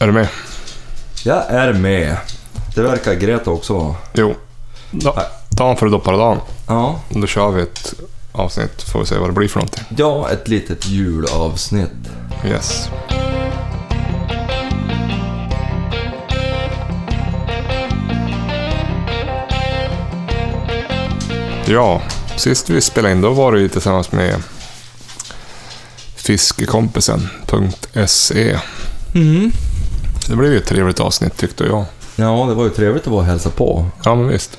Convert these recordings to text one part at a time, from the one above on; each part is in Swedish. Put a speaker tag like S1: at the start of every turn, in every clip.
S1: Är du med?
S2: Jag är med. Det verkar Greta också vara.
S1: Jo. Da, dagen före dopparedagen.
S2: Ja.
S1: Då kör vi ett avsnitt, får vi se vad det blir för någonting.
S2: ja, ett litet julavsnitt.
S1: Yes. Ja, sist vi spelade in då var det ju tillsammans med fiskekompisen.se.
S2: Mm.
S1: E. Det blev ju ett trevligt avsnitt tyckte jag.
S2: Ja, det var ju trevligt att vara och hälsa på.
S1: Ja, men visst.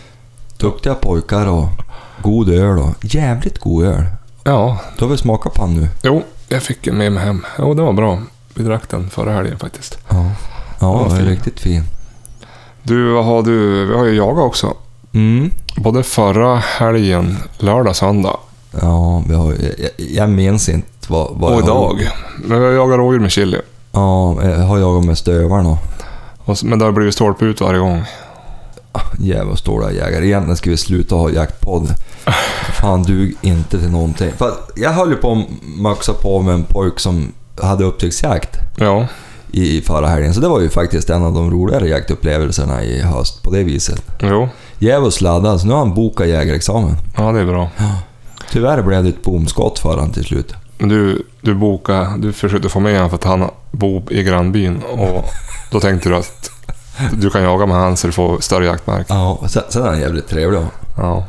S2: Duktiga pojkar och god öl och jävligt god öl.
S1: Ja,
S2: Då har vi smakat på den nu.
S1: Jo, jag fick en med mig hem. Jo, den var bra. Vi drack den förra helgen faktiskt.
S2: Ja, ja
S1: Vad
S2: den är
S1: fin.
S2: riktigt fin.
S1: Du, vad har du? Vi har ju jagat också.
S2: Mm.
S1: Både förra helgen, lördag, söndag
S2: Ja, vi har, jag, jag minns inte vad, vad
S1: och
S2: jag har
S1: idag.
S2: gjort.
S1: Men vi har jagat rådjur med chili.
S2: Ja, jag har jagat med stövaren och
S1: Och, s- men det har blivit stolpe ut varje gång.
S2: Jävla stora jägare. Egentligen ska vi sluta ha jaktpodd. Fan dug inte till någonting. För att jag höll ju på att maxa på med en pojk som hade upptäcktsjakt
S1: Ja,
S2: i i förra helgen. Så det var ju faktiskt en av de roligare jaktupplevelserna i höst på det viset.
S1: jo.
S2: Djävulskt laddad, så nu har han bokat jägarexamen.
S1: Ja, det är bra.
S2: Tyvärr blev det ett bomskott för han till slut.
S1: Men Du, du bokade, du försökte få med honom för att han bor i grannbyn. Och då tänkte du att du kan jaga med han så du får större jaktmark.
S2: Ja, sen, sen är han jävligt trevlig också.
S1: Ja,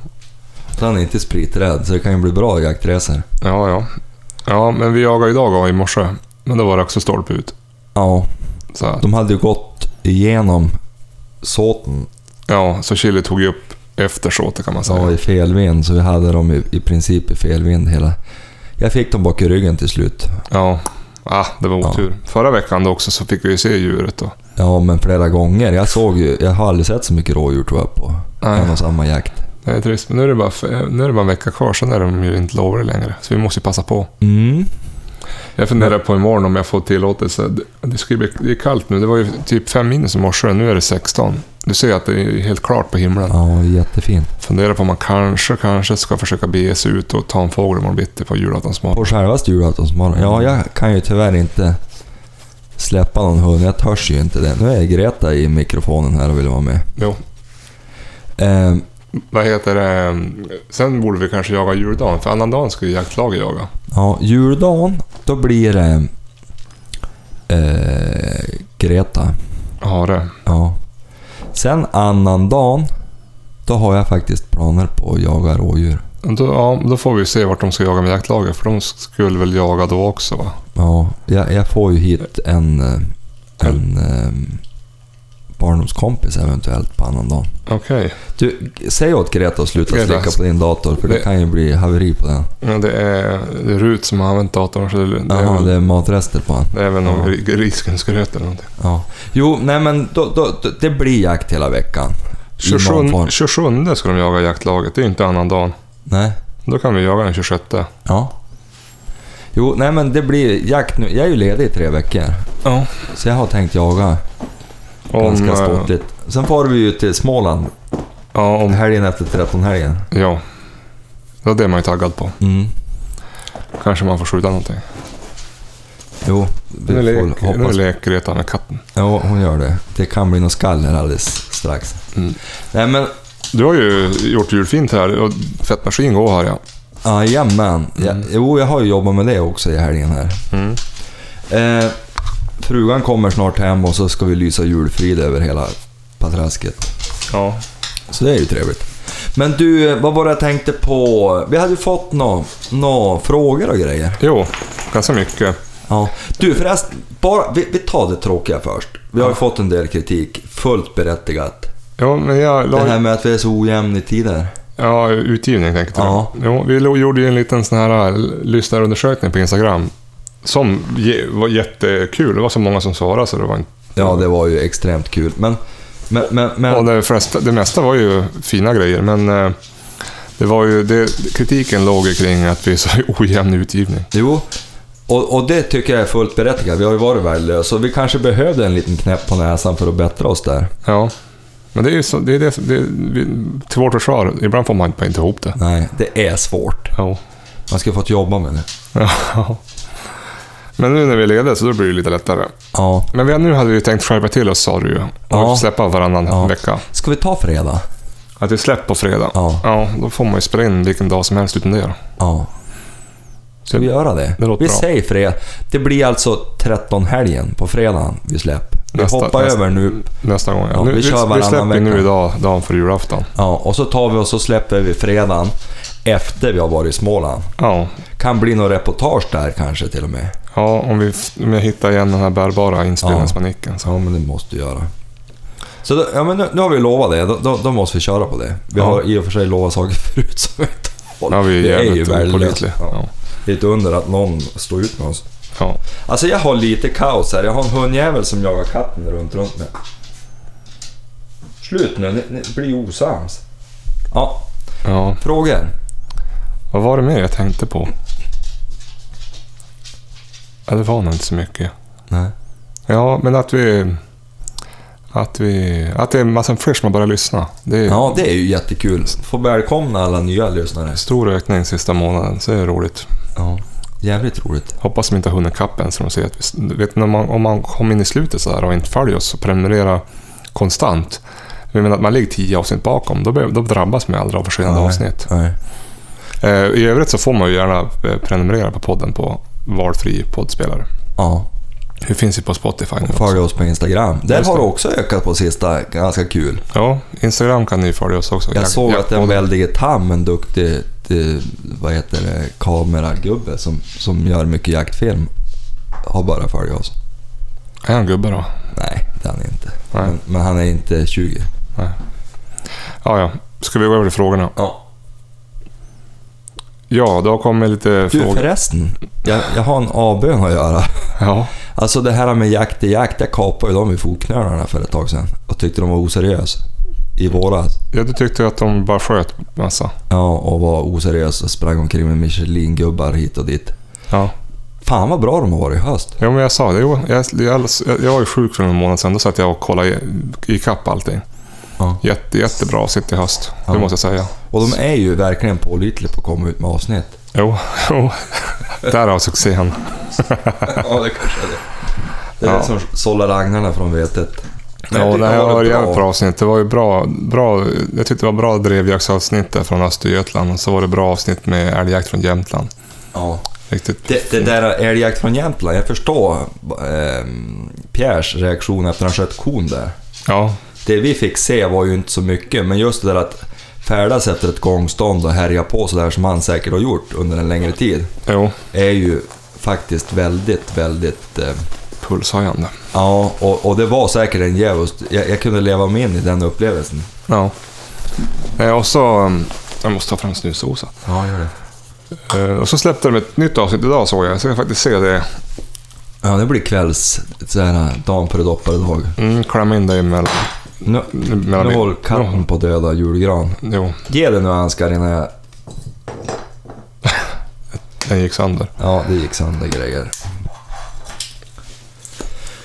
S2: Så han är inte spriträdd, så det kan ju bli bra jaktresor.
S1: ja. Ja, ja men vi jagade idag och i morse. Men då var det också stolpe ut.
S2: Ja,
S1: Så att,
S2: de hade ju gått igenom såten
S1: ja, så chili tog ju upp efter såtet kan man säga.
S2: Ja, i fel vind, så vi hade dem i, i princip i fel vind hela... Jag fick dem bak i ryggen till slut.
S1: Ja. Ah, det var
S2: Ja.
S1: otur. Förra veckan då också så fick vi ju se djuret då.
S2: Ja, men flera gånger. Jag såg ju... Jag har aldrig sett så mycket rådjur tror jag på
S1: Nej.
S2: en och samma jakt.
S1: Det är trist, men nu är, det bara, nu är det bara en vecka kvar, sen är de ju inte lovliga längre. Så vi måste ju passa på.
S2: Mm.
S1: Jag funderar på imorgon om jag får tillåtelse. Det, det, ska ju bli, det är kallt nu, det var ju typ 5 minus i morse, nu är det 16. Du ser att det är helt klart på himlen.
S2: Ja, jättefint.
S1: Funderar på om man kanske, kanske ska försöka bege sig ut och ta en fågel imorgon bitti på julaftonsmorgon.
S2: På självaste julaftonsmorgon. Ja, jag kan ju tyvärr inte släppa någon hund. Jag törs ju inte det. Nu är Greta i mikrofonen här och vill vara med.
S1: Jo.
S2: Ehm,
S1: Vad heter det? Sen borde vi kanske jaga juldagen, för annandagen ska ju jaktlaget jaga.
S2: ja, juldagen, då blir det... Eh, Greta.
S1: Ja, det.
S2: Ja. Sen annan dagen, då har jag faktiskt planer på att jaga rådjur.
S1: Då, ja, då får vi se vart de ska jaga med jaktlaget, för de skulle väl jaga då också va?
S2: Ja, jag, jag får ju hit en, eh, en eh, barndomskompis eventuellt på annan dag.
S1: Okej.
S2: Du, säg åt Greta att sluta
S1: Greta,
S2: slicka på din dator för det
S1: det-
S2: kan ju bli haveri på den.
S1: Men det är, det är Rut som har använt datorn, så det, det, är,
S2: Jaha,
S1: väl,
S2: det
S1: det.
S2: är matrester på den.
S1: är väl
S2: Ja.
S1: någon ri- risgrynsgröt eller någonting.
S2: Ja. Jo, nej men då, då, då, det blir jakt hela veckan. I någon
S1: 27,
S2: form.
S1: 27 ska de jaga jaktlaget, det är inte annan dagen.
S2: Nej.
S1: Då kan vi jaga den 26.
S2: Ja. Jo, nej men det blir jakt nu. Jag är ju ledig i tre veckor.
S1: Ja.
S2: Så jag har tänkt jaga.
S1: Om,
S2: Ganska
S1: eh,
S2: ståtligt. Sen far vi ju till Småland
S1: ja, om,
S2: helgen efter 13 helgen.
S1: ja. Det är det man är taggad på.
S2: Mm.
S1: Kanske man får skjuta någonting.
S2: Jo,
S1: Nu,
S2: vi får
S1: lek, nu
S2: hoppas.
S1: leker Greta med katten.
S2: Ja, hon gör det. Det kan bli något skall här alldeles strax.
S1: Mm.
S2: Nej men,
S1: Du har ju gjort julfint här och tvättmaskin går här ja.
S2: ah, jajamän. Ja, jo, jag har ju jobbat med det också i helgen här.
S1: Mm.
S2: Eh, frugan kommer snart hem och så ska vi lysa julfrid över hela patrasket.
S1: Ja.
S2: Så det är ju trevligt. Men du, eh, vad var det jag tänkte på? Vi hade ju fått några nå frågor och grejer.
S1: Jo, ganska mycket.
S2: Ja. Du förresten, bara, vi, vi tar det tråkiga först. Vi har ju fått en del kritik, fullt berättigat.
S1: Ja, men jag
S2: Det
S1: la
S2: här med att vi är så ojämn i tider.
S1: Ja, utgivning tänkte du.
S2: Ja.
S1: Jo, vi lo- gjorde ju en liten sån här l- lyssnarundersökning på Instagram. Som ge, var jättekul. Det var så många som svarade så det var inte...
S2: Ja, det var ju extremt kul. Men, men, men,
S1: Och
S2: men
S1: det, flesta, det mesta var ju fina grejer, men... eh, Det var ju, det, kritiken låg ju kring att vi är så ojämn utgivning.
S2: jo. Och, och det tycker jag är fullt berättigat. Vi har ju varit värdelösa och vi kanske behövde en liten knäpp på näsan för att bättra oss där.
S1: Ja. Men det är ju så, det är det, det, vi, till vårt försvar, ibland får man bara inte ihop det.
S2: Nej, det är svårt.
S1: Jo.
S2: Man ska få fått jobba med det.
S1: Ja. Men nu när vi är lediga så då blir det lite lättare.
S2: Ja.
S1: Men vi, nu hade vi ju tänkt skärpa till oss sa du ju. Och
S2: Ja.
S1: släppa varannan
S2: Ja.
S1: vecka.
S2: Ska vi ta fredag?
S1: Att vi släpper på fredag.
S2: Ja.
S1: Ja, då får man ju spela in vilken dag som helst utan det.
S2: ja. Ska vi göra det?
S1: Det låter
S2: vi
S1: bra.
S2: säger fredag. Det blir alltså 13-helgen på fredagen vi släpper. Vi
S1: Nästa-
S2: hoppar
S1: nästa-
S2: över nu.
S1: Nästa gång.
S2: Ja,
S1: nu,
S2: vi kör
S1: vi
S2: varannan
S1: släpper ju nu
S2: vecka.
S1: idag, dagen före julafton.
S2: Ja, och så tar vi och så släpper vi fredagen efter vi har varit i Småland.
S1: Ja.
S2: Kan bli något reportage där kanske till och med.
S1: Ja, om, vi, om jag hittar igen den här bärbara inspelningsmanicken. Så.
S2: Ja, men det måste du göra. Så då, ja, men nu, nu har vi lovat det, då, då, då måste vi köra på det. Vi
S1: Ja.
S2: har i och för sig lovat saker förut som vi inte håller.
S1: Ja, vi är jävligt opålitliga.
S2: värdelösa. Ja.
S1: Ja.
S2: Det är ett under att någon står ut med oss.
S1: Ja.
S2: Alltså jag har lite kaos här. Jag har en hundjävel som jagar katten runt, runt mig. Slut nu, ni, ni blir osams. Ja,
S1: ja.
S2: frågor?
S1: Vad var det mer jag tänkte på? Ja, det var nog inte så mycket.
S2: Nej.
S1: Ja, men att vi... Att, vi, att det är massa fler som har börjat lyssna. Det är
S2: Ja, det är ju jättekul. Får välkomna alla nya lyssnare.
S1: stor ökning sista månaden, så det är roligt.
S2: Ja, jävligt roligt.
S1: Hoppas de inte har hunnit kapp än, så de ser att vi, vet, ni, om, man, om man kommer in i slutet så här och inte följer oss och prenumererar konstant. Jag menar att man ligger tio avsnitt bakom, då, be- då drabbas man ju aldrig av försenade avsnitt.
S2: Nej.
S1: Eh, I övrigt så får man ju gärna eh, prenumerera på podden på valfri poddspelare.
S2: Ja,
S1: Det finns ju på Spotify nu
S2: och
S1: också.
S2: följ oss på Instagram. Där
S1: Just
S2: har
S1: det.
S2: det också ökat på sista, ganska kul.
S1: Ja, Instagram kan ni följa oss också.
S2: Jag
S1: Jack-
S2: såg att en
S1: Jackpodden.
S2: väldige Tam, en duktig eh, vad heter det, kameragubbe som, som gör mycket jaktfilm, har börjat följa oss.
S1: Är han gubbe då?
S2: Nej, det är han inte.
S1: Nej.
S2: Men, men han är inte 20.
S1: Ja, ja. Ska vi gå över till frågorna?
S2: Ja.
S1: Ja, det har kommit lite
S2: Du
S1: frågor.
S2: förresten, jag, jag har en avbön att göra.
S1: Ja.
S2: Alltså det här med jakt i jakt, jag kapade ju dem i fotknölarna för ett tag sedan och tyckte de var oseriösa i våras.
S1: ja, du tyckte ju att de bara sköt massa.
S2: Ja, och var oseriös och sprang omkring med Michelin-gubbar hit och dit.
S1: Ja.
S2: Fan vad bra de har varit i höst.
S1: ja, men jag sa det. Jo, jag, jag, jag, jag var ju sjuk för en månad sedan. Då satt jag och kollade i- ikapp allting.
S2: Ja.
S1: Jätte, jättebra sitt i höst. Det
S2: Ja.
S1: måste jag säga.
S2: Och de är ju verkligen pålitliga på att komma ut med avsnitt.
S1: Jo, jo. Därav succén.
S2: ja, det kanske är det. Det är
S1: Ja.
S2: det som sållar agnarna från vetet.
S1: Ja,
S2: jag
S1: det
S2: tycker
S1: här
S2: de har
S1: var ett
S2: varit
S1: jävligt bra avsnitt. Det var ju bra, bra, jag tyckte det var bra drevjaktsavsnitt där från Östergötland. Och så var det bra avsnitt med älgjakt från Jämtland.
S2: Ja.
S1: Riktigt.
S2: Det, det där älgjakt från Jämtland, jag förstår eh, Pierres reaktion efter han sköt kon där.
S1: Ja,
S2: Det vi fick se var ju inte så mycket, men just det där att färdas efter ett gångstånd och härja på sådär som han säkert har gjort under en längre tid,
S1: jo.
S2: är ju faktiskt väldigt, väldigt... Eh,
S1: Pulshöjande.
S2: ja, och, och det var säkert en djävulskt... Jag, jag kunde leva mig in i den upplevelsen.
S1: Ja. Eh, Och så... um, Jag måste ta fram snusdosan.
S2: Ja, gör det.
S1: Eh, Och så släppte de ett nytt avsnitt idag såg jag. Så jag kan faktiskt se det.
S2: Ja, det blir kvälls... Såhär, dagen före dopparedag.
S1: Mm, kläm in dig emellan.
S2: Nu,
S1: Mellan
S2: nu håller katten på att döda julgran.
S1: Jo,
S2: Ge det nu Ansgar innan jag...
S1: den gick sönder.
S2: Ja, det gick sönder grejer.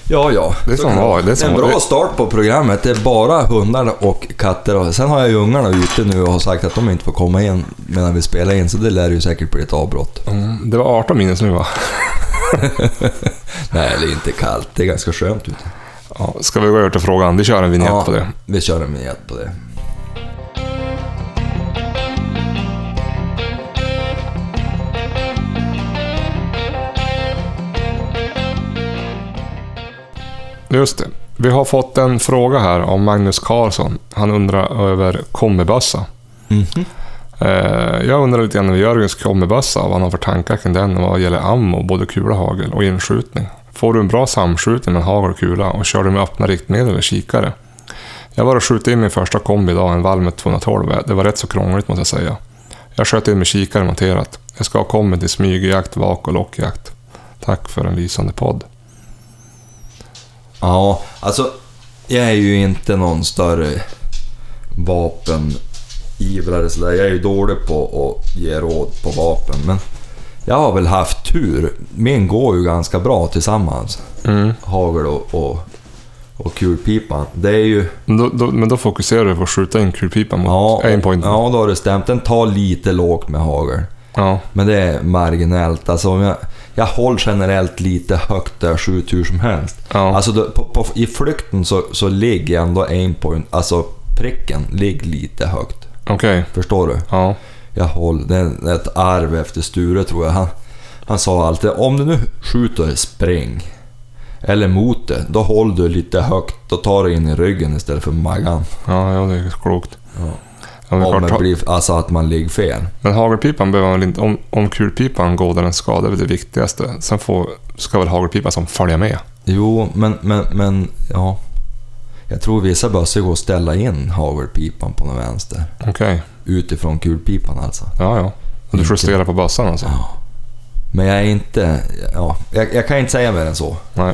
S2: Ja, ja.
S1: Det är som var. Det är som
S2: en
S1: var.
S2: bra start på programmet. Det är bara hundar och katter. Och Sen har jag ju ungarna ute nu och har sagt att de inte får komma in medan vi spelar in, så det lär ju säkert bli ett avbrott.
S1: Mm, det var 18 minus nu va?
S2: Nej, det är inte kallt. Det är ganska skönt ute.
S1: Ja, ska vi gå över till frågan? Vi kör en vignett på det.
S2: vi kör en vignett på det.
S1: Just det. Vi har fått en fråga här av Magnus Karlsson. Han undrar över kombibössa.
S2: Mhm.
S1: Eh, jag undrar lite grann över Jörgens kombibössa, vad han har för tankar kring den vad gäller ammo, både kula, hagel och inskjutning. Får du en bra samskjutning med hagel och kula och kör du med öppna riktmedel eller kikare? Jag var och sköt in min första kombi idag, en Valmet 212. Det var rätt så krångligt måste jag säga. Jag sköt in med kikare monterat. Jag ska ha kombin till smygjakt, vak och lockjakt. Tack för en lysande podd.
S2: Ja, alltså jag är ju inte någon större vapenivrare sådär. Jag är ju dålig på att ge råd på vapen, men jag har väl haft tur. Min går ju ganska bra tillsammans,
S1: Mm.
S2: hagel och, och, och kulpipan. Det är ju...
S1: Men då, då, men då fokuserar du på att skjuta in kulpipan mot
S2: Ja,
S1: aimpointen?
S2: ja, då har det stämt. Den tar lite lågt med hagel.
S1: ja.
S2: Men det är marginellt. Alltså om jag, jag håller generellt lite högt där jag skjuter hur som helst.
S1: Ja.
S2: Alltså då, på, på, i flykten så, så ligger ändå aimpoint, alltså pricken, ligger lite högt.
S1: Okej.
S2: Förstår du?
S1: Ja.
S2: Jag håller, det är ett arv efter Sture tror jag. Han, han sa alltid, om du nu skjuter, spring. Eller mot det, då håller du lite högt. Då tar du in i ryggen istället för magan.
S1: Ja, ja, det är klokt.
S2: Ja.
S1: Ja, men,
S2: Om
S1: klart,
S2: det blir, alltså att man ligger fel.
S1: men hagelpipan behöver man väl inte... Om, om kulpipan går där den ska, det är väl det viktigaste. Sen får, ska väl hagelpipan som följa med.
S2: Jo, men, men, men ja. Jag tror vissa bössor går att ställa in hagelpipan på någon vänster.
S1: Okej.
S2: Utifrån kulpipan alltså.
S1: Ja, ja. Och du
S2: Inte-
S1: justerar på bössan alltså?
S2: Ja. Men jag är inte... Ja, jag, jag kan inte säga mer än så.
S1: Nej.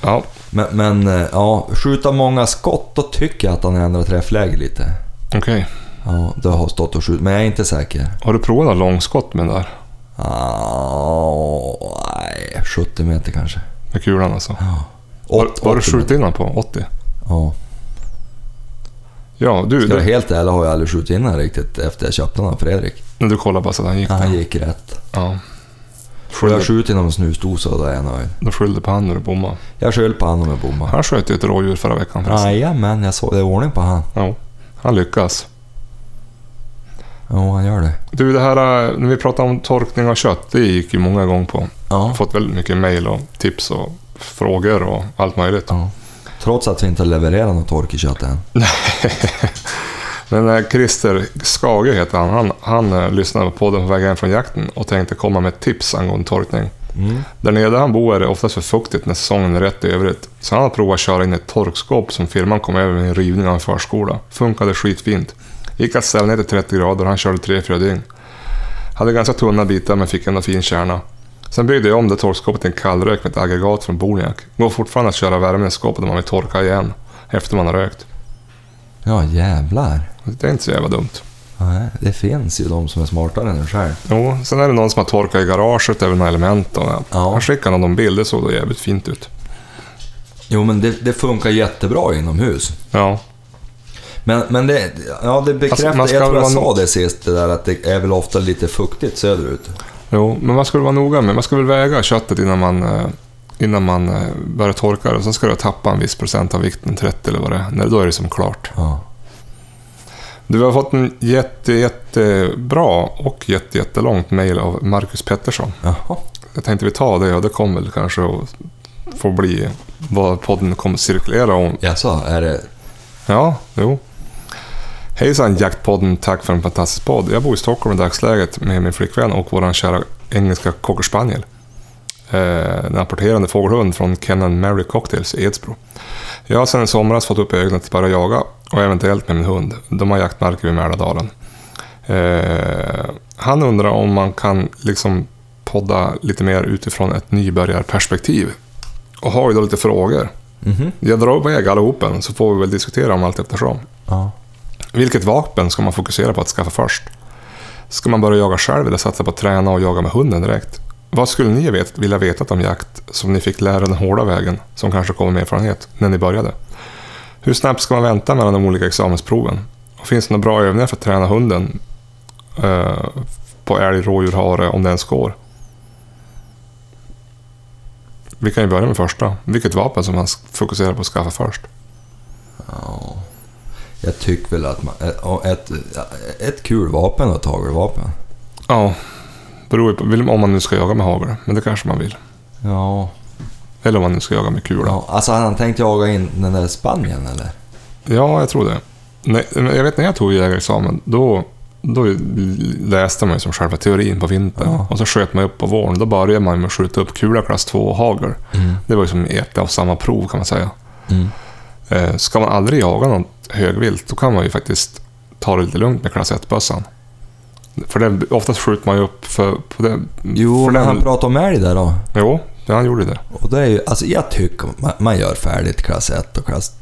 S1: Ja,
S2: Men, men eh, ja, skjuta många skott, då tycker jag att han ändrar träffläge lite.
S1: okej.
S2: Ja, det har stått och skjutit, men jag är inte säker.
S1: Har du provat några långskott med den där?
S2: Ah, nej, 70 meter kanske.
S1: Med kulan alltså?
S2: Ja.
S1: Vad
S2: Åt-
S1: vad har du
S2: 80
S1: skjutit
S2: meter.
S1: innan på? 80?
S2: Ja.
S1: Ja, du,
S2: Ska jag vara
S1: du,
S2: helt ärlig har jag aldrig skjutit in den riktigt efter jag köpte den av Fredrik.
S1: när du kollade bara så att han gick
S2: Ja,
S1: där.
S2: han gick rätt.
S1: Ja.
S2: Och jag
S1: Skyllde,
S2: skjuter inom en snusdosa och då är jag nöjd.
S1: då skyllde på han när du bommade.
S2: Jag sköljde på honom med bommar.
S1: Han sköt ju ett rådjur förra veckan förresten.
S2: Jajamän, jag såg det. är ordning på han.
S1: Ja, han lyckas.
S2: Jo, han gör det.
S1: Du, det här eh, när vi pratade om torkning av kött, det gick ju många gånger på. Jag har
S2: Ja.
S1: fått väldigt mycket mejl och tips och frågor och allt möjligt.
S2: ja. Trots att vi inte levererar något torkekött än.
S1: Men eh, Christer Skage heter han. Han, han eh, lyssnade på podden på vägen hem från jakten och tänkte komma med tips angående torkning.
S2: Mm.
S1: Där nere där han bor är det oftast för fuktigt när säsongen är rätt i övrigt. Så han har provat att köra in ett torkskåp som firman kom över med en rivning av en förskola. Funkade skitfint. Gick att ställa ner till 30 grader och han körde 3-4 dygn. Hade ganska tunna bitar men fick ändå fin kärna. Sen byggde jag om det torkskåpet till en kallrök med ett aggregat från Boniac. Går fortfarande att köra värmen i skåpet om man vill torka igen efter man har rökt.
S2: Ja, jävlar.
S1: Det är inte så jävla dumt.
S2: Nej, det finns ju de som är smartare än en själv.
S1: Jo, sen är det någon som har torkat i garaget över några element. Och
S2: Ja.
S1: Han skickade någon bild, det såg då jävligt fint ut.
S2: Jo, men det, det funkar jättebra inomhus.
S1: Ja,
S2: Men, men det, ja, det bekräftar,
S1: Alltså, man ska
S2: jag tror
S1: väl
S2: jag
S1: vara
S2: sa
S1: nog-
S2: det sist, det där att det är väl ofta lite fuktigt söderut.
S1: jo, men man ska väl vara noga med, man ska väl väga köttet innan man, eh, innan man eh, börjar torka det. Och Sen ska du tappa en viss procent av vikten, 30 eller vad det är. Nej, Då är det som klart.
S2: Ja.
S1: Du, vi har fått en jätte, jättebra och jätte, jättelångt mejl av Marcus Pettersson.
S2: Jaha.
S1: Jag tänkte vi tar det och det kommer väl kanske att få bli vad podden kommer cirkulera om
S2: Jaså, är det...
S1: Ja, jo. Hejsan Jaktpodden, tack för en fantastisk podd. Jag bor i Stockholm i dagsläget med min flickvän och vår kära engelska cockerspaniel. Eh, en apporterande fågelhund från Kenan Mary Cocktails i Edsbro. Jag har sedan i somras fått upp ögonen att bara jaga och eventuellt med min hund. De har jaktmarker vid Mälardalen. Eh, han undrar om man kan liksom podda lite mer utifrån ett nybörjarperspektiv. Och har ju då lite frågor.
S2: Mhm.
S1: Jag drar iväg allihopen så får vi väl diskutera om allt eftersom.
S2: Ja.
S1: Vilket vapen ska man fokusera på att skaffa först? Ska man börja jaga själv eller satsa på att träna och jaga med hunden direkt? Vad skulle ni vet, vilja veta om jakt som ni fick lära den hårda vägen, som kanske kommer med erfarenhet, när ni började? Hur snabbt ska man vänta mellan de olika examensproven? Och finns det några bra övningar för att träna hunden eh, på älg, rådjur, hare, om det ens går? Vi kan ju börja med första. Vilket vapen som man s- fokuserar på att skaffa först?
S2: ja. Jag tycker väl att man... ja, Ett, ett kul vapen och ett hagelvapen.
S1: Ja, beror ju på vill- om man nu ska jaga med hagel. Men det kanske man vill.
S2: Ja.
S1: Eller om man nu ska jaga med kula.
S2: ja. Alltså, hade han tänkt jaga in den där Spanien eller?
S1: Ja, jag tror det. Nej, men jag vet när jag tog jägarexamen, då, då läste man ju som själva teorin på vintern.
S2: Ja.
S1: Och så sköt man upp på våren. Då började man med att skjuta upp kula klass 2 och hagel.
S2: Mm.
S1: Det var ju som ett av samma prov kan man säga.
S2: Mm.
S1: Eh, ska man aldrig jaga något högvilt, då kan man ju faktiskt ta det lite lugnt med klass 1-bössan. För det, oftast skjuter man ju upp för... På det,
S2: Jo,
S1: för
S2: men
S1: den-
S2: han pratade om älg där då.
S1: Jo, ja, han gjorde det.
S2: Och det är ju, alltså jag tycker man, man gör färdigt klass 1 och klass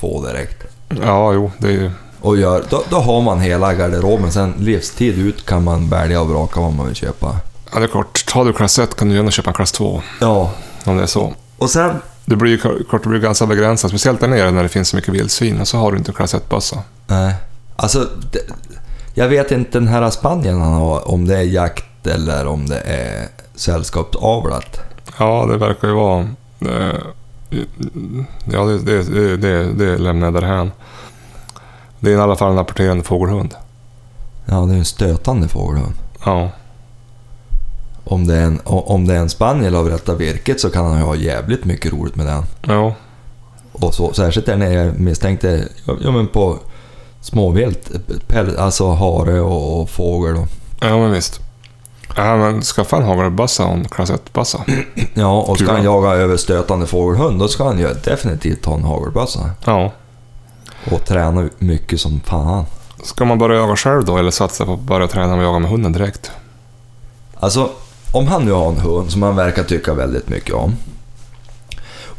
S2: 2 direkt.
S1: Ja, jo, det är ju...
S2: Och gör, då, då har man hela garderoben. Sen livstid ut kan man välja och vraka vad man vill köpa.
S1: Ja, det är klart. Tar du klass 1 kan du gärna köpa en klass 2,
S2: Ja,
S1: om det är så.
S2: och sen...
S1: Det blir ju klart, det blir ganska begränsat, speciellt där nere när det finns så mycket vildsvin. Och så har du inte klass 1-bössa.
S2: Nej, alltså... Det, jag vet inte den här Spanien han har, om det är jakt eller om det är sällskapsavlat.
S1: Ja, det verkar ju vara... Eh, ja, det, det, det, det, det lämnar jag därhän. Det är i alla fall en apporterande fågelhund.
S2: Ja, det är en stötande fågel. då.
S1: Ja,
S2: Om det är en, o- om det är en spaniel av rätta virket så kan han ju ha jävligt mycket roligt med den.
S1: ja,
S2: Och så, särskilt där när jag misstänkte, ja men på småvilt, päl- alltså hare och, och fågel. Och,
S1: ja men visst. Ja, men skaffa en hagelbössa och en klass 1-bössa.
S2: ja, och ska
S1: Kul.
S2: han jaga över stötande fågelhund, då ska han ju definitivt ta en hagelbössa.
S1: Ja.
S2: Och träna mycket som fan.
S1: Ska man börja jaga själv då eller satsa på att börja träna och jaga med hunden direkt?
S2: Alltså, om han nu har en hund som han verkar tycka väldigt mycket om.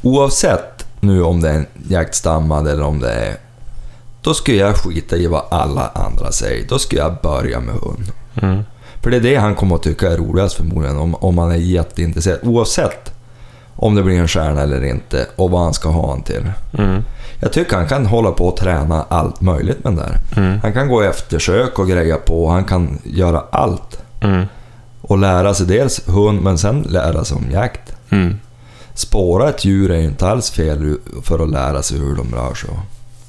S2: Oavsett nu om det är en jaktstammad eller om det är... Då skulle jag skita i vad alla andra säger. Då skulle jag börja med hund.
S1: Mm.
S2: För det är det han kommer att tycka är roligast förmodligen, om, om han är jätteintresserad. Oavsett om det blir en stjärna eller inte och vad han ska ha han till.
S1: Mm.
S2: Jag tycker han kan hålla på och träna allt möjligt med den där.
S1: Mm.
S2: Han kan gå i eftersök och greja på, han kan göra allt.
S1: Mm.
S2: Och lära sig dels hund, men sen lära sig om jakt.
S1: Mm.
S2: Spåra ett djur är ju inte alls fel för att lära sig hur de rör sig.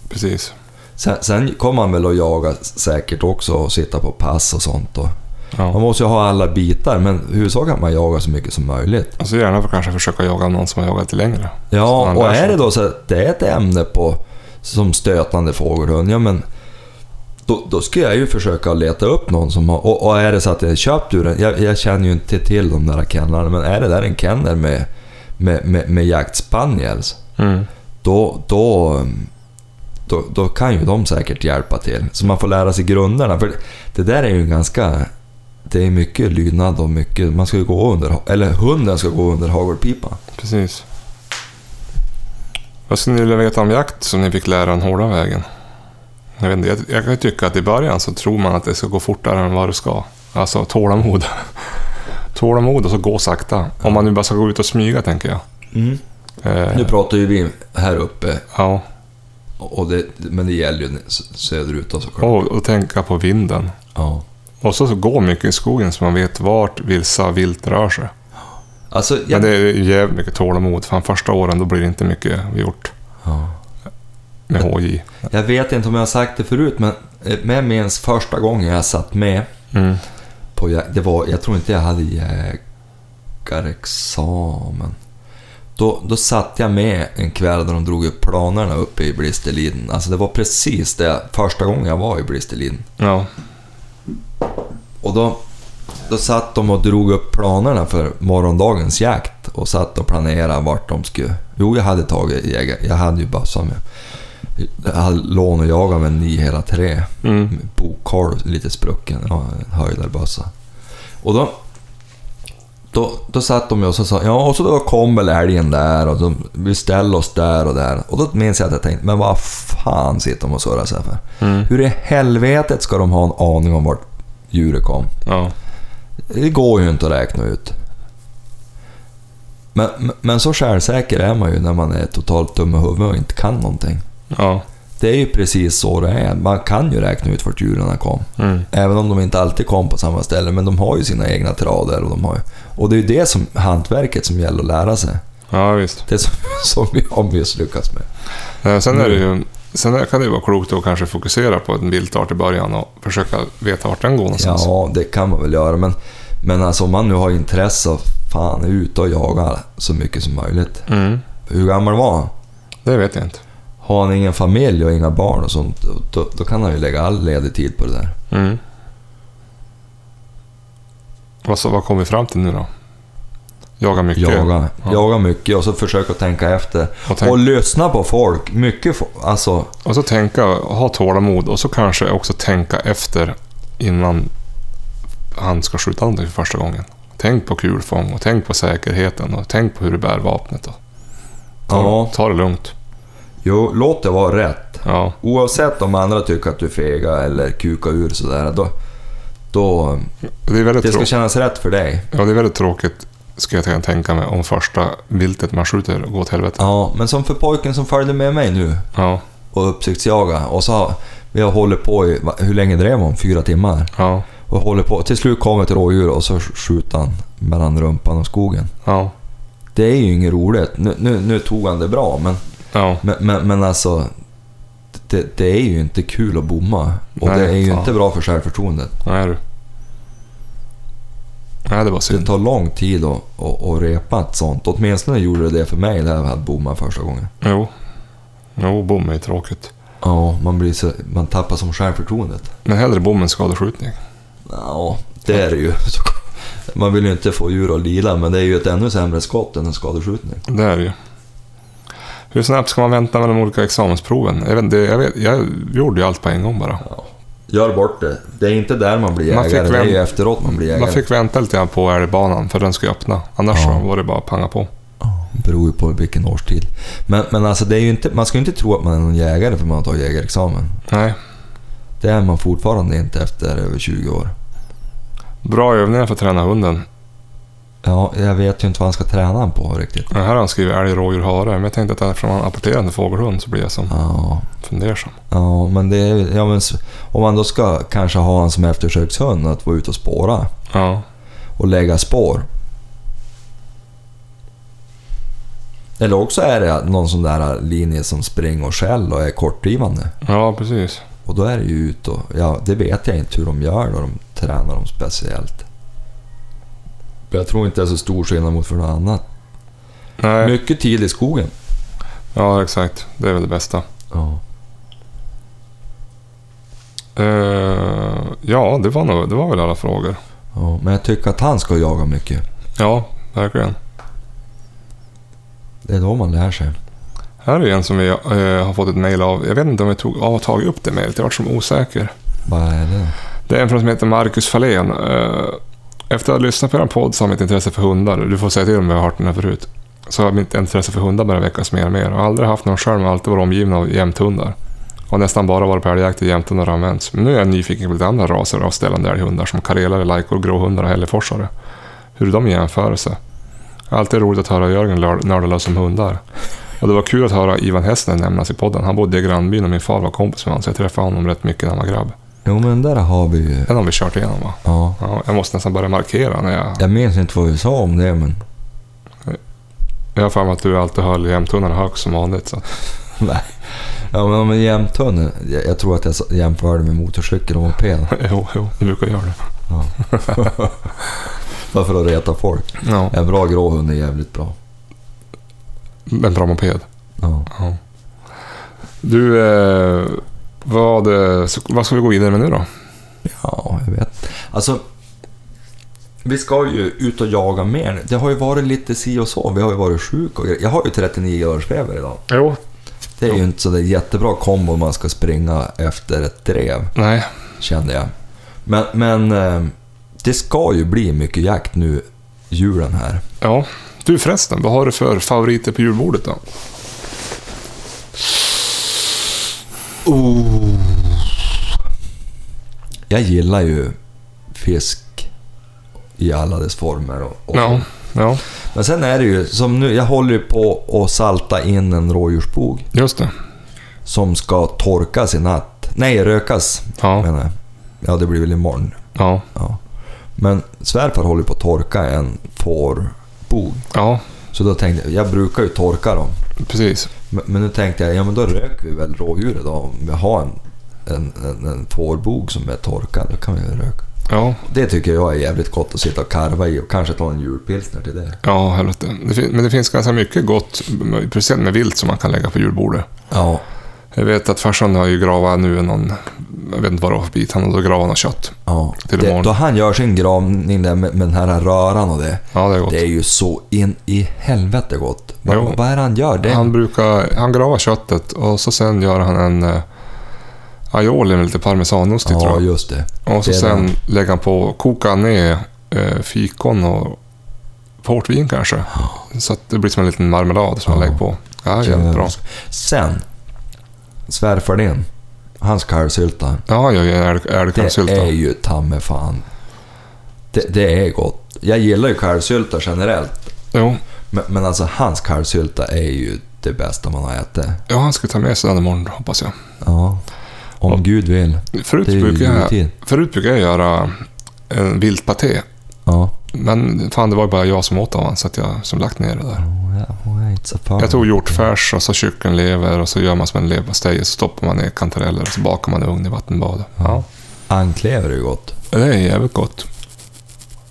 S1: Precis.
S2: Sen, sen kommer han väl att jaga säkert också och sitta på pass och sånt. Och man
S1: Ja.
S2: måste ju ha alla bitar, men huvudsaken är att man jagar så mycket som möjligt.
S1: Och så Alltså, gärna för kanske försöka jaga någon som har jagat lite längre. Så
S2: Ja,
S1: man
S2: och
S1: lär sig
S2: är det
S1: något.
S2: då så att det är ett ämne på, som stötande fågelhund, ja men då, då ska jag ju försöka leta upp någon som har... Och, och är det så att jag är köpt ur en... Jag, jag känner ju inte till de där kennlarna, men är det där en kennel med, med, med, med jaktspaniels,
S1: Mm.
S2: då, då, då, då kan ju de säkert hjälpa till. Så man får lära sig grunderna. För det där är ju ganska... Det är mycket lydnad och mycket... Man ska ju gå under... Eller hunden ska gå under hagelpipan.
S1: Precis. Vad skulle ni vilja veta om jakt som ni fick lära den hårda vägen? Jag, vet inte, jag, jag kan ju tycka att i början så tror man att det ska gå fortare än vad det ska. Alltså tålamod. tålamod och så gå sakta. Om man nu bara ska gå ut och smyga tänker jag. Eh,
S2: Nu pratar ju vi här uppe,
S1: ja.
S2: och det, men det gäller ju söderut då såklart.
S1: och, och tänka på vinden.
S2: Ja.
S1: Och så, så gå mycket i skogen så man vet vart vilsa vilt rör sig.
S2: Alltså,
S1: Men
S2: jag,
S1: det är jävligt mycket tålamod. Fan, första åren då blir det inte mycket gjort
S2: ja.
S1: med HJ.
S2: jag vet inte om jag har sagt det förut, men eh, men jag minns första gången jag satt med
S1: Mm.
S2: på jag- det var, jag tror inte jag hade jägarexamen. Då, då satt jag med en kväll där de drog upp planerna uppe i Blisterliden. Alltså det var precis det första gången jag var i Blisterliden.
S1: Ja.
S2: Och då, då satt de och drog upp planerna för morgondagens jakt och satt och planerade vart de skulle... Jo, jag hade tagit jägar, jag hade ju bössa med. Jag hade lån och jaga med en 9 hela tre.
S1: Mm.
S2: Bokhål, lite sprucken, ja, en höjdarbössa. Och då, då, då satt de ju och så sa, ja och så då kom väl älgen där och de, vi ställde oss där och där. Och då minns jag att jag tänkte, men vad fan sitter de och surrar sig för?
S1: Mm.
S2: Hur i helvetet ska de ha en aning om vart djuret kom?
S1: Ja.
S2: Det går ju inte att räkna ut. Men, men- men så självsäker är man ju när man är totalt dum i huvudet och inte kan någonting.
S1: Ja.
S2: Det är ju precis så det är. Man kan ju räkna ut vart djuren kom.
S1: Mm.
S2: Även om de inte alltid kom på samma ställe, men de har ju sina egna trader. Och, de har ju, och det är ju det som hantverket som gäller att lära sig.
S1: Ja, visst.
S2: Det som, som vi har misslyckats med.
S1: Eh, Sen, är det ju, sen är- kan det ju vara klokt att kanske fokusera på en viltart i början och försöka veta vart den går någonstans.
S2: Ja, det kan man väl göra, men, men alltså, om man nu har intresse av fan ut och jaga så mycket som möjligt.
S1: Mm.
S2: Hur gammal var han?
S1: Det vet jag inte.
S2: Har han ingen familj och inga barn och sånt, då- då, då kan han ju lägga all ledig tid på det där.
S1: Mm. Vad, så, vad kom vi fram till nu då? Jaga mycket.
S2: Jaga,
S1: Ja.
S2: jaga mycket och så försöka tänka efter.
S1: Och tänk-
S2: Och lyssna på folk. Mycket fo- alltså,
S1: Och så tänka, ha tålamod och så kanske också tänka efter innan han ska skjuta någonting för första gången. Tänk på kulfång och tänk på säkerheten och tänk på hur du bär vapnet. Och ta,
S2: Ja.
S1: ta det lugnt.
S2: jo, låt det vara rätt.
S1: Ja,
S2: Oavsett om andra tycker att du är fega eller kuka ur sådär, då... då
S1: det är väldigt,
S2: det ska
S1: trå-
S2: kännas rätt för dig.
S1: ja, det är väldigt tråkigt skulle jag kunna tänka mig om första viltet man skjuter går åt helvete.
S2: Ja, men som för pojken som följde med mig nu
S1: Ja,
S2: och uppsiktsjaga och så... har- Vi har hållit på i... va- Hur länge drev hon? Fyra timmar?
S1: ja,
S2: Och håller på. Till slut kommer ett rådjur och så skjuter han mellan rumpan och skogen.
S1: Ja.
S2: Det är ju inget roligt. Nu, nu, nu tog han det bra, men,
S1: Ja.
S2: men, men, men alltså... Det, det är ju inte kul att bomma. Och
S1: Nej,
S2: det är ju
S1: fan.
S2: inte bra för självförtroendet.
S1: Nej du. Nej, det var
S2: Det
S1: synd.
S2: tar lång tid att, att, att repa ett sånt. Åtminstone gjorde det det för mig när jag hade bommat första gången.
S1: Jo. Jo, bom är ju tråkigt.
S2: Ja, man, blir så, man tappar som självförtroendet.
S1: Men hellre bom än skadeskjutning.
S2: Ja, det är det ju. Man vill ju inte få djur att lila, men det är ju ett ännu sämre skott än en skadeskjutning.
S1: Det är det ju. Hur snabbt ska man vänta med de olika examensproven? Jag, vet, inte, jag, vet, jag gjorde ju allt på en gång bara.
S2: Gör bort det. Det är inte där man blir
S1: Man
S2: jägare,
S1: fick
S2: det är
S1: väl-
S2: ju efteråt man blir jägare.
S1: Man fick vänta lite grann på älgbanan för den ska ju öppna. Annars
S2: Ja.
S1: så var det bara att panga på.
S2: beror ju på vilken årstid. Men, men alltså, det är ju inte, man ska ju inte tro att man är någon jägare för man har tagit jägarexamen.
S1: Nej.
S2: Det är man fortfarande inte efter över 20 år.
S1: Bra övningar för att träna hunden.
S2: Ja, jag vet ju inte vad han ska träna han på riktigt.
S1: Den här har han skrivit älg, rådjur, hare. Men jag tänkte att eftersom han apporterar en fågelhund så blir jag som
S2: Ja,
S1: fundersam.
S2: ja men det är ja, men, s- Om man då ska kanske ha han som eftersökshund att vara ute och spåra
S1: Ja.
S2: och lägga spår. Eller också är det någon sån där linje som springer och skäll och är kortdrivande.
S1: Ja, precis.
S2: Och då är det ju ut och... Ja, det vet jag inte hur de gör då. De tränar dem speciellt. Men Jag tror inte det är så stor skillnad mot för något annat.
S1: Nej.
S2: Mycket tid i skogen.
S1: Ja, exakt. Det är väl det bästa.
S2: Ja.
S1: Eh, ja, det var, nog, det var väl alla frågor.
S2: ja. Men jag tycker att han ska jaga mycket.
S1: Ja, verkligen.
S2: Det är då man lär sig.
S1: Här är en som vi eh, har fått ett mejl av. Jag vet inte om vi tog, har tagit upp det mejlet. Jag var som osäker.
S2: Vad är det?
S1: Det är en från som heter Marcus Fahlén. Eh, Efter att ha lyssnat på er podd så har mitt intresse för hundar, du får säga till om jag har hört den här förut, så har mitt intresse för hundar börjat väckas mer och mer. Jag har aldrig haft någon själv, men alltid varit omgiven av jämthundar. Och nästan bara varit på älgjakt där jämthundar har använts. Men nu är jag nyfiken på lite andra raser av ställande älghundar som karelare, lajkor, gråhundar och hälleforsare. Hur är de i jämförelse? Alltid roligt att höra Jörgen lör- nörda lös om hundar. Och det var kul att höra Ivan Hästner nämnas i podden. Han bodde i grannbyn och min far var kompis med honom, så jag träffade honom rätt mycket när han var grabb.
S2: Jo men där har vi ju...
S1: Den har vi kört igenom va?
S2: Ja.
S1: Ja, jag måste nästan börja markera när jag...
S2: Jag minns inte vad vi sa om det men...
S1: Jag har för mig att du alltid höll jämthundarna högt som vanligt. Så. att-
S2: Nej. Ja men om en jämthund. Jag, jag tror att jag sa- jämförde med motorcykel och moped.
S1: Jo, jo, du brukar göra det.
S2: Bara för att reta folk.
S1: Ja.
S2: En bra grå hund är jävligt bra.
S1: En bra moped.
S2: Ja.
S1: Du, eh, vad, eh, vad ska vi gå vidare med nu då?
S2: Ja, jag vet. Alltså, vi ska ju ut och jaga mer nu. Det har ju varit lite si och så. Vi har ju varit sjuka och grejer. Jag har ju 39 örsfeber idag.
S1: Jo.
S2: Det är ju inte så där jättebra kombo om man ska springa efter ett drev,
S1: Nej.
S2: kände jag. Men, men eh, det ska ju bli mycket jakt nu, julen här.
S1: Ja. Du förresten, vad har du för favoriter på julbordet då?
S2: Oh. Jag gillar ju fisk i alla dess former. Och, och
S1: Ja. Ja,
S2: Men sen är det ju som nu, jag håller ju på att salta in en rådjursbog
S1: just det.
S2: som ska torkas i natt. Nej, rökas
S1: Ja.
S2: menar jag. Ja, det blir väl imorgon.
S1: Ja.
S2: Ja. Men svärfar håller på att torka en fårbog.
S1: Ja,
S2: Så då tänkte jag, jag brukar ju torka dem.
S1: precis.
S2: Men, men nu tänkte jag, ja men då röker vi väl rådjuret då om vi har en, en, en, en fårbog som är torkad. Då kan vi väl röka.
S1: Ja.
S2: Det tycker jag är jävligt gott att sitta och karva i och kanske ta en julpilsner till det.
S1: Ja, helvete. Det fin- men det finns ganska mycket gott, speciellt med vilt, som man kan lägga på julbordet.
S2: Ja,
S1: Jag vet att farsan har ju gravat nu någon, jag vet inte vad det var för bit, han har då gravat något kött.
S2: Ja,
S1: Till
S2: det,
S1: imorgon.
S2: då han gör sin gravning där med, med den här röran och det.
S1: Ja, det är gott.
S2: Det är ju så in i helvete gott. Va,
S1: Jo.
S2: vad är det han gör? Det,
S1: Han brukar, han gravar köttet och så sen gör han en eh, aioli med lite parmesanost i tror
S2: ja,
S1: jag.
S2: just det.
S1: Och så
S2: det är
S1: sen
S2: det.
S1: lägger han på, kokar ner eh, fikon och portvin kanske. Så att det blir som en liten marmelad som han
S2: Ja.
S1: lägger på. Ja, jävligt bra.
S2: Ehm, Sen, svärfar din, hans kalvsylta.
S1: Ja, han gör ju en älg-
S2: Det
S1: älgkalvsylta.
S2: är ju ta mig fan. Det, det är gott. Jag gillar ju kalvsylta generellt.
S1: Jo,
S2: Men, men alltså hans kalvsylta är ju det bästa man har ätit.
S1: ja, han ska ta med sig den imorgon hoppas jag.
S2: Ja. Om Gud vill.
S1: Förut
S2: Det är ju
S1: brukar jag,
S2: juletid.
S1: förut brukar jag göra en viltpaté.
S2: Ja.
S1: Men fan, det var ju bara jag som åt av den, så att jag som lagt ner det där.
S2: Wait, så fan.
S1: Jag tog hjortfärs och så kycklinglever och så gör man som en leverpastej och så stoppar man ner kantareller och så bakar man i ugn i vattenbad. Ja.
S2: Anklever är ju gott.
S1: Det är jävligt gott.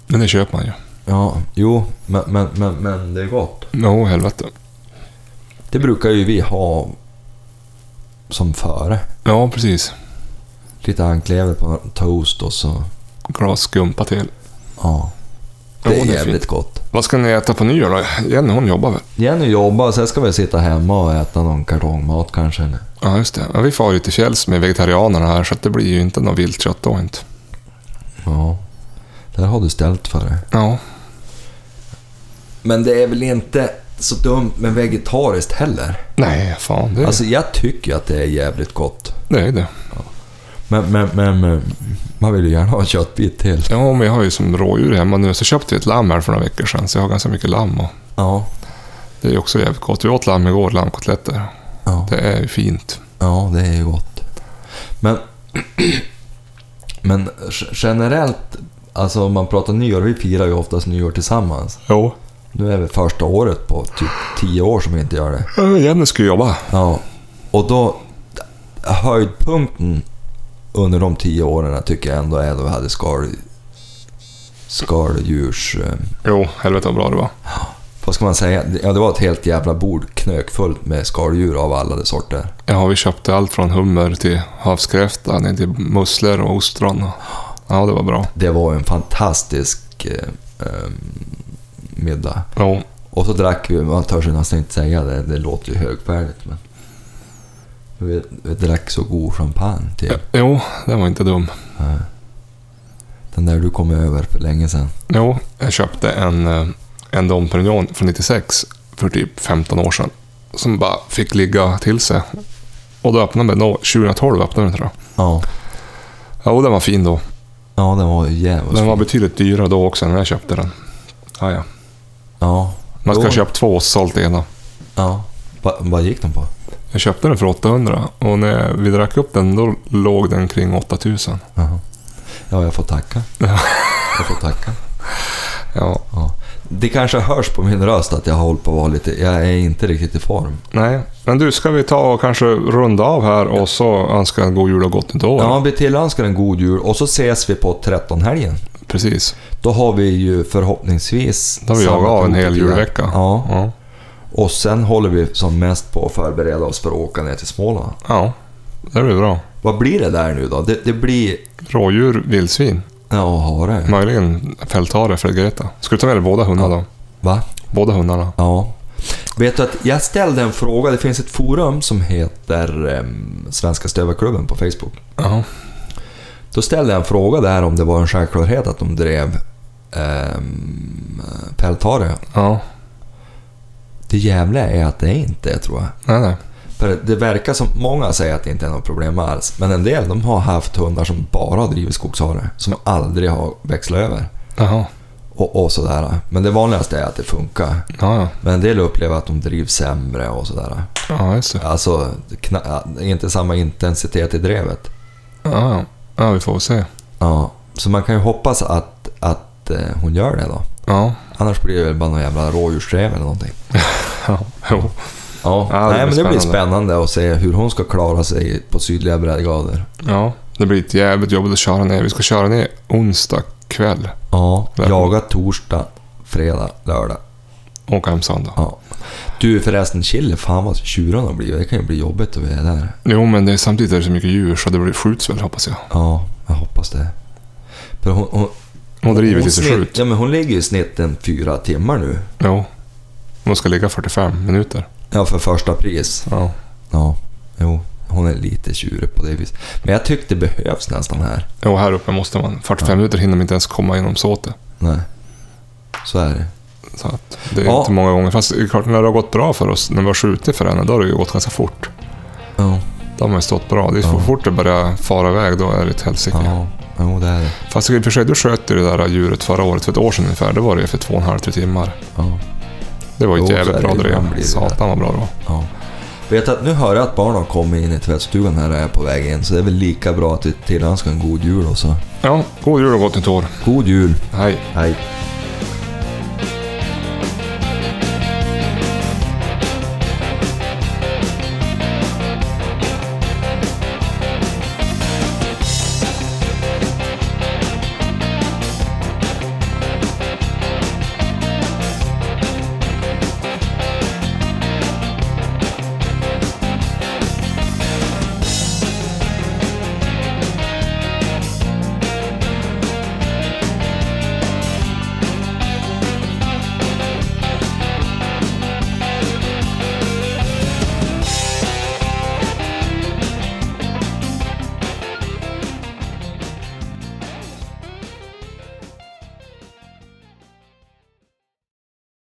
S1: Men det köper man ju.
S2: Ja, jo, men, men, men, men det är gott.
S1: Jo, helvete.
S2: Det brukar ju vi ha som före.
S1: Ja, precis.
S2: Lite anklever på toast och så...
S1: Glas skumpa till.
S2: Ja.
S1: Ja,
S2: Det är
S1: det är
S2: jävligt gott.
S1: Vad ska ni äta på nyår då? Jenny hon jobbar väl?
S2: Jenny jobbar, sen ska vi sitta hemma och äta någon kartongmat kanske. eller?
S1: Ja, just det. Ja, vi far ju till fjälls med vegetarianerna här, så att det blir ju inte något viltkött då inte.
S2: Ja. Där har du ställt för det.
S1: Ja,
S2: Men det är väl inte så dumt med vegetariskt heller.
S1: nej, fan. Det är,
S2: Mm. Alltså jag tycker att det är jävligt gott.
S1: det, är det.
S2: Men, men, men, men man vill ju gärna ha en köttbit till.
S1: Ja, men jag har ju som rådjur hemma nu, så köpte vi ett lamm här för några veckor sedan, så jag har ganska mycket lamm. Och
S2: Ja.
S1: det är ju också jävligt gott. Vi åt lamm igår, lammkotletter.
S2: Ja.
S1: Det är ju fint.
S2: Ja, det är ju gott. Men, men g- generellt, alltså om man pratar nyår, vi firar ju oftast nyår tillsammans.
S1: Jo.
S2: Nu är vi första året på typ tio år som vi inte gör det.
S1: Ja, Jenny ska ju jobba.
S2: Ja, och då höjdpunkten under de tio åren tycker jag ändå är då vi hade skal, skaldjurs... eh,
S1: Jo, helvete vad bra det var.
S2: Vad ska man säga? Ja, det var ett helt jävla bord knökfullt med skaldjur av alla de sorter.
S1: Ja, vi köpte allt från hummer till havskräfta, ner till musslor och ostron. och- Ja, det var bra.
S2: Det var ju en fantastisk eh, eh, middag.
S1: Jo,
S2: Och så drack vi, man törs ju nästan inte säga det, det låter ju högfärdigt men... Vi, vi drack så god champagne typ. till
S1: Eh, jo den var inte dum.
S2: den där du kom över för länge sedan.
S1: Jo, jag köpte en, eh, en Dom Perignon från 96 för typ 15 år sedan. Som bara fick ligga till sig. Och då öppnade den, då- 2012 öppnade den tror jag.
S2: Ja,
S1: Ja, och den var fin då.
S2: ja den var ju jävligt
S1: Den var
S2: fin.
S1: betydligt dyrare då också när jag köpte den. Ja, ja.
S2: Ja.
S1: Man ska
S2: Då-
S1: ha köpt två och sålt ena.
S2: Ja. Va, vad gick den på?
S1: Jag köpte den för 800 och när vi drack upp den då låg den kring 8000.
S2: Jaha. Ja, jag får tacka.
S1: Ja.
S2: Jag får tacka.
S1: Ja,
S2: Ja. Det kanske hörs på min röst att jag har hållit på att vara lite... Jag är inte riktigt i form.
S1: nej. Men du, ska vi ta och kanske runda av här och så önska en god jul och gott nytt år?
S2: Ja, vi tillönskar en god jul och så ses vi på 13-helgen.
S1: Precis.
S2: Då har vi ju förhoppningsvis...
S1: Då har vi
S2: samma
S1: jagat av en hel
S2: prototyp.
S1: julvecka.
S2: Ja.
S1: Ja.
S2: Och sen håller vi som mest på att förbereda oss för att åka ner till Småland.
S1: ja, det blir bra.
S2: Vad blir det där nu då? Det, det blir...
S1: Rådjur, vildsvin.
S2: Ja, hare.
S1: Möjligen fälthare för Greta. Ska du ta med dig båda hundarna då?
S2: Va?
S1: Båda hundarna.
S2: Ja. Vet du att jag ställde en fråga. Det finns ett forum som heter ehm, Svenska Stövarklubben på Facebook.
S1: Ja.
S2: Då ställde jag en fråga där om det var en självklarhet att de drev um, pälthare.
S1: Ja.
S2: Det jävla är att det inte är, tror jag.
S1: Nej, nej.
S2: För det verkar som, många säger att det inte är något problem alls, men en del de har haft hundar som bara har drivit skogshare, som aldrig har växlat över.
S1: Jaha.
S2: Och, och sådär. Men det vanligaste är att det funkar.
S1: Ja, ja.
S2: Men en del upplever att de drivs sämre och sådär.
S1: Ja, just det.
S2: Alltså, kna- inte samma intensitet i drevet.
S1: Ja, ja. Ja, vi får väl se.
S2: Ja, så man kan ju hoppas att, att eh, hon gör det då.
S1: Ja.
S2: Annars blir det väl bara någon jävla rådjursdrev eller någonting.
S1: Ja. Jo.
S2: Ja,
S1: Ja, det
S2: Nej,
S1: blir
S2: men det blir
S1: spännande.
S2: spännande att se hur hon ska klara sig på sydliga breddgrader.
S1: Ja. Det blir ett jävligt jobb att köra ner. Vi ska köra ner onsdag kväll.
S2: Ja,
S1: Verkligen.
S2: jaga torsdag, fredag, lördag.
S1: och Åka hem söndag.
S2: Ja. Du förresten, chili, fan vad tjuren har blivit. Det kan ju bli jobbigt att vi är där.
S1: Jo, men det är, samtidigt är det så mycket djur så det blir, skjuts väl hoppas jag.
S2: Ja, jag hoppas det. För hon, hon,
S1: Hon driver
S2: hon,
S1: tills det
S2: snitt,
S1: skjuts.
S2: ja, men hon ligger ju i snitt en fyra timmar nu.
S1: Jo. Hon ska ligga 45 minuter.
S2: Ja, för första pris.
S1: Ja.
S2: Ja, jo. Hon är lite tjurig på det viset. Men jag tyckte det behövs nästan här.
S1: Jo, här uppe måste man. 45 minuter hinner man inte ens komma genom såtet.
S2: Nej. Så är det.
S1: Så att det är
S2: Ja.
S1: inte många gånger. Fast det är klart, när det har gått bra för oss, när vi har skjutit för henne, då har det ju gått ganska fort.
S2: Ja.
S1: Då har man ju stått bra. Det är
S2: Ja.
S1: så fort det börjar fara iväg, då är det ett helsike.
S2: Ja, jo det är det.
S1: Fast i och för sig, du sköt ju det där djuret förra året, för ett år sedan ungefär. Det var det ju för två och en halv, tre timmar.
S2: Ja.
S1: Det var ju ett
S2: Jo, så är
S1: jävligt bra
S2: det ju. Man blir
S1: drev.
S2: ju
S1: Satan vad bra det var.
S2: Ja. Vet att nu hör jag att barnen har kommit in i tvättstugan här och är på väg in, så det är väl lika bra att vi tillönskar en god jul och så Ja, god jul och gott nytt år.
S1: God jul.
S2: Hej.
S1: Hej.